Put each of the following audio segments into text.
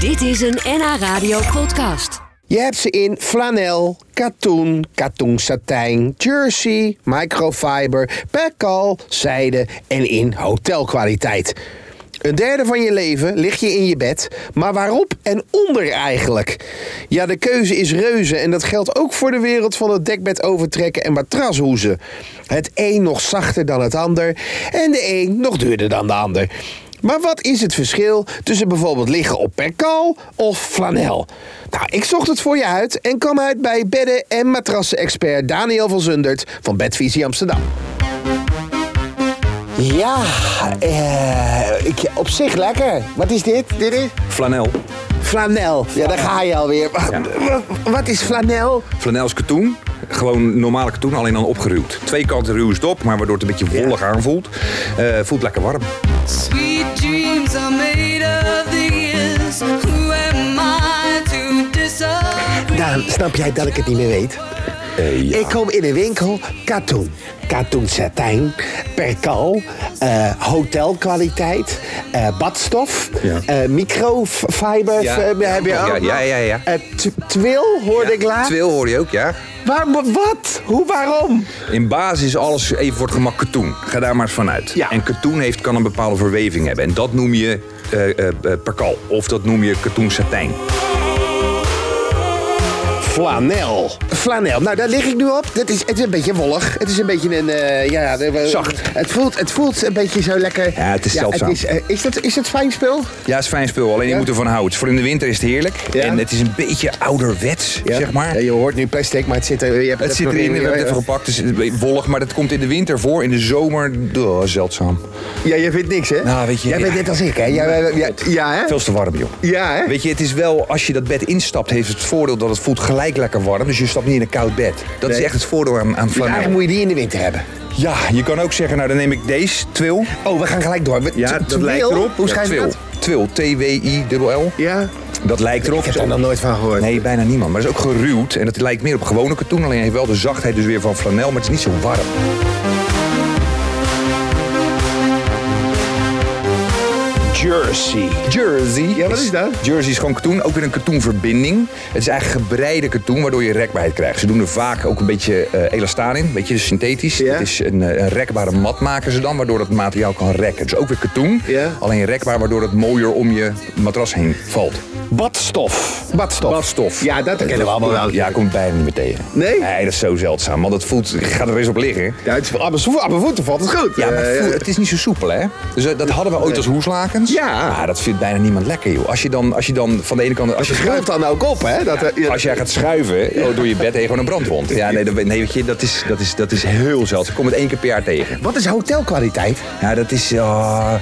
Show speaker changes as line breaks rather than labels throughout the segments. Dit is een NH Radio podcast.
Je hebt ze in flanel, katoen, katoensatijn, jersey, microfiber, perkal, zijde en in hotelkwaliteit. Een derde van je leven lig je in je bed, maar waarop en onder eigenlijk? Ja, de keuze is reuze en dat geldt ook voor de wereld van het dekbed overtrekken en matrashoezen. Het een nog zachter dan het ander en de een nog duurder dan de ander. Maar wat is het verschil tussen bijvoorbeeld liggen op perkal of flanel? Nou, ik zocht het voor je uit en kwam uit bij bedden- en matrassen-expert Daniel van Zundert van Bedvisie Amsterdam. Ja, eh, ik, op zich lekker. Wat is dit? Dit is
Flanel.
flanel. Ja, daar ga je alweer. Wat, wat is flanel?
Flanel is katoen. Gewoon normale katoen, alleen dan opgeruwd. Twee kanten ruw is het op, maar waardoor het een beetje wollig aanvoelt. Eh, voelt lekker warm.
Sweet dreams are made of these. Who am I to disagree?
Daan, Nou, snap jij dat ik het niet meer weet? Ik kom in een winkel, katoen. Katoen satijn, perkal, eh, hotelkwaliteit, eh, badstof,
Ja.
eh, microfiber
Ja,
eh,
ja,
heb je
ja,
ook.
ja, ja, ja.
Eh, tw- twil hoorde ik laat.
Twil hoor je ook, ja.
Waar, wat? Hoe, waarom?
In basis is alles even voor het gemak katoen. Ga daar maar eens vanuit.
Ja.
En katoen heeft, kan een bepaalde verweving hebben. En dat noem je eh eh, perkal. Of dat noem je katoen satijn.
Flanel. Flanel. Nou, daar lig ik nu op. Dat is, het is een beetje wollig. Het is een beetje een... eh, ja, eh,
Zacht.
Het voelt, het voelt een beetje zo lekker...
Ja, het is zeldzaam.
is, eh, is, dat, is dat fijn spul?
Ja, is fijn spul. Alleen je
Ja.
moet ervan houden. Voor in de winter is het heerlijk.
Ja.
En het is een beetje ouderwets, zeg maar.
Ja, je hoort nu plastic, maar het zit er... Je hebt
Het zit
nog eh,
erin, we
weer-
hebben het even gepakt. Het is een beetje wollig, maar dat komt in de winter voor. In de zomer, oh, zeldzaam.
Ja, jij vindt niks, hè?
Nou, weet je,
jij
ja.
bent net als ik, hè? Ja, ja, ja, ja, hè?
Veel te warm, joh.
Ja, hè?
Weet je, het is wel, als je dat bed instapt, heeft het voordeel dat het voelt gelijk lekker warm. Dus je stapt niet in een koud bed. Dat
Nee.
is echt het voordeel aan, aan
Dus eigenlijk
flanel.
moet je die in de winter hebben.
Ja, je kan ook zeggen, nou dan neem ik deze, twil.
Oh, we gaan gelijk door. We-
Tw-
tw- twil? Hoe schrijf je
twil.
dat?
Twil, T-W-I-L-L.
Ja.
Dat lijkt erop.
Ik heb daar nog nooit van gehoord.
Nee, bijna niemand. Maar het is ook geruwd. En dat lijkt meer op gewone katoen. Alleen heeft wel de zachtheid dus weer van flanel. Maar het is niet zo warm.
Jersey.
Jersey.
Ja, wat is dat?
Jersey is gewoon katoen. Ook weer een katoenverbinding. Het is eigenlijk gebreide katoen, waardoor je rekbaarheid krijgt. Ze doen er vaak ook een beetje eh, elastaan in. Een beetje synthetisch.
Ja.
Het is een, eh, een rekbare mat maken ze dan, waardoor het materiaal kan rekken. Dus ook weer katoen.
Ja.
Alleen rekbaar, waardoor het mooier om je matras heen valt.
Badstof. Badstof.
Badstof.
Ja, dat kennen we allemaal wel.
Ja, komt bijna niet meer tegen.
Nee?
Nee, dat is zo zeldzaam. Want het voelt, gaat er eens op liggen.
Ja, het is, aan, mijn, vo- aan mijn voeten valt het goed.
Ja, maar het,
Eh,
voelt- het is niet zo soepel, hè? Dus eh, dat hadden we ooit als hoeslakens.
Ja.
Maar dat vindt bijna niemand lekker, joh. Als je dan, als je dan van de ene kant... Als je
Het schuift dan ook op, hè? Dat, er- ja,
Als jij gaat schuiven oh, door je bed heen gewoon een brandwond. Ja, nee, dat, nee weet je, dat is, dat, is, dat is heel zeldzaam. Ik kom het één keer per jaar tegen.
Wat is hotelkwaliteit?
Ja, dat is... ah,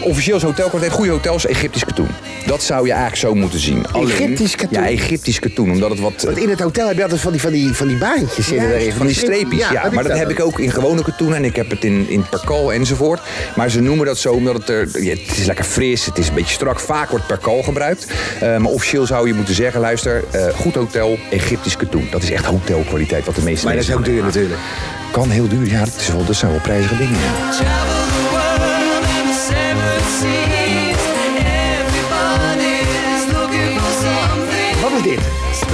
officieel is hotelkwaliteit, goede hotels, Egyptisch katoen. Dat zou je eigenlijk zo moeten zien. Alleen-
Egyptisch katoen?
Ja, Egyptisch katoen, omdat het wat...
Want in het hotel heb je altijd van die, van die, van die baantjes in
Juist, van die streepjes, ja. Maar dat heb ik ook in gewone katoen en ik heb het in, in perkal enzovoort. Maar ze noemen dat zo omdat het er... ja, het is lekker fris, het is een beetje strak. Vaak wordt perkal gebruikt. Eh, maar officieel zou je moeten zeggen, luister, eh, goed hotel, Egyptisch katoen. Dat is echt hotelkwaliteit wat de meeste
Maar dat is
mensen
ook duur natuurlijk.
doen. Kan heel duur, ja. Dat, is wel, dat zijn wel prijzige dingen. ja.
Travel the world and separate seas. Everybody's looking for something.
Wat is dit?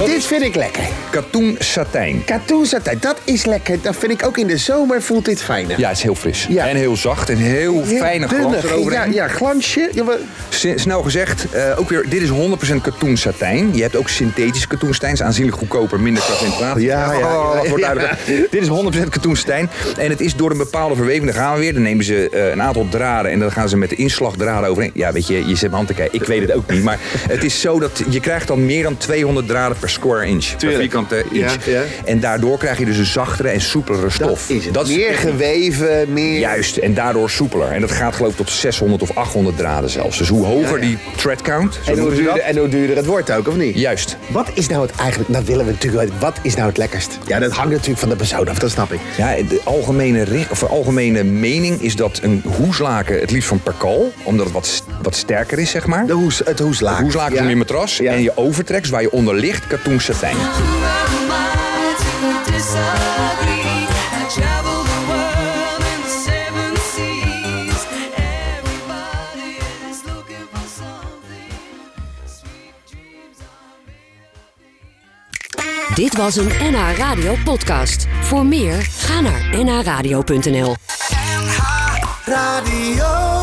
dit vind ik lekker.
Katoen satijn.
Katoensatijn, dat is lekker. Dat vind ik ook in de zomer voelt dit fijner.
Ja, het is heel fris.
Ja.
En heel zacht en
Heel
heel, fijne glans
dunnig. Ja,
eroverheen.
ja, glansje. Ja, maar-
S- Snel gezegd, eh, ook weer, dit is 100% katoen satijn. Je hebt ook synthetisch katoen satijn. is aanzienlijk goedkoper, minder concentraat.
ja, ja, ja,
Oh, dat wordt duidelijk. Dit is 100% katoen satijn. En het is door een bepaalde verweving. Dan gaan we weer. Dan nemen ze eh, een aantal draden en dan gaan ze met de inslagdraden overheen. Ja, weet je, je zit mijn hand te kijken. Ik weet het ook niet. Maar het is zo dat je krijgt dan meer dan 200 draden per square inch. Per vierkante inch.
Ja, ja.
En daardoor krijg je dus een zachtere en soepelere stof.
is het.
de
meer
techniek.
geweven, meer...
Juist, en daardoor soepeler. En dat gaat geloof ik tot 600 of 800 draden zelfs. Dus hoe hoger die thread count, zo
en, hoe
noemen ze dat.
duurder, e- en hoe duurder het wordt ook, of niet?
Juist.
Wat is nou het eigenlijk... Dat willen we natuurlijk weten. Wat is nou het lekkerst? Ja, dat hangt natuurlijk van de persoon af, dat snap ik.
Ja, de algemene, ri- of de algemene mening is dat een hoeslaken het liefst van perkal, omdat het wat, s- wat sterker is, zeg maar.
De hoes, het hoeslaak.
Hoeslaken is
Ja.
om je matras
Ja.
en je overtrekt, dus waar je onder ligt, katoen satijn.
Who am I to disagree? I travel the world and seven seas. Everybody is looking for something. Sweet
Dit was een NH Radio podcast. Voor meer, ga naar nhradio.nl.
NH Radio.